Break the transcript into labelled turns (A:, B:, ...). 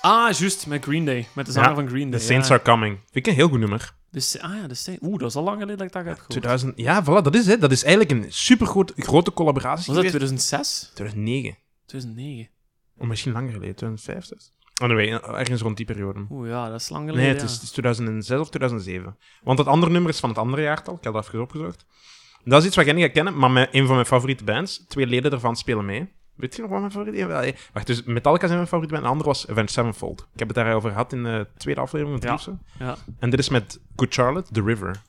A: Ah, juist, met Green Day. Met de zanger van Green
B: The
A: Day.
B: Saints
A: ja.
B: Are Coming. Vind ik een heel goed nummer.
A: De Sa- ah ja, de Saints. Oeh, dat is al lang geleden dat ik dat heb gehoord.
B: 2000, ja, voilà, dat is het. Dat is eigenlijk een supergoed grote collaboratie
A: Was dat
B: geweest.
A: 2006?
B: 2009.
A: 2009?
B: Of misschien langer geleden, 2005. Anyway, ergens rond die periode.
A: Oeh, Uh, ja, dat is lang geleden.
B: Nee, het
A: ja.
B: is, het is 2006 of 2007. Want dat andere nummer is van het andere jaartal. Ik had dat even opgezocht. Dat is iets wat jij niet gaat kennen, maar mijn, een van mijn favoriete bands. Twee leden daarvan spelen mee. Weet je nog wat mijn favoriete... ja, wel, eh, Wacht, dus Metallica zijn mijn favoriete band. De andere was Avenged Sevenfold. Ik heb het daarover gehad in de tweede aflevering van
A: Ja.
B: Driepsen.
A: Ja.
B: En dit is met Good Charlotte, The River.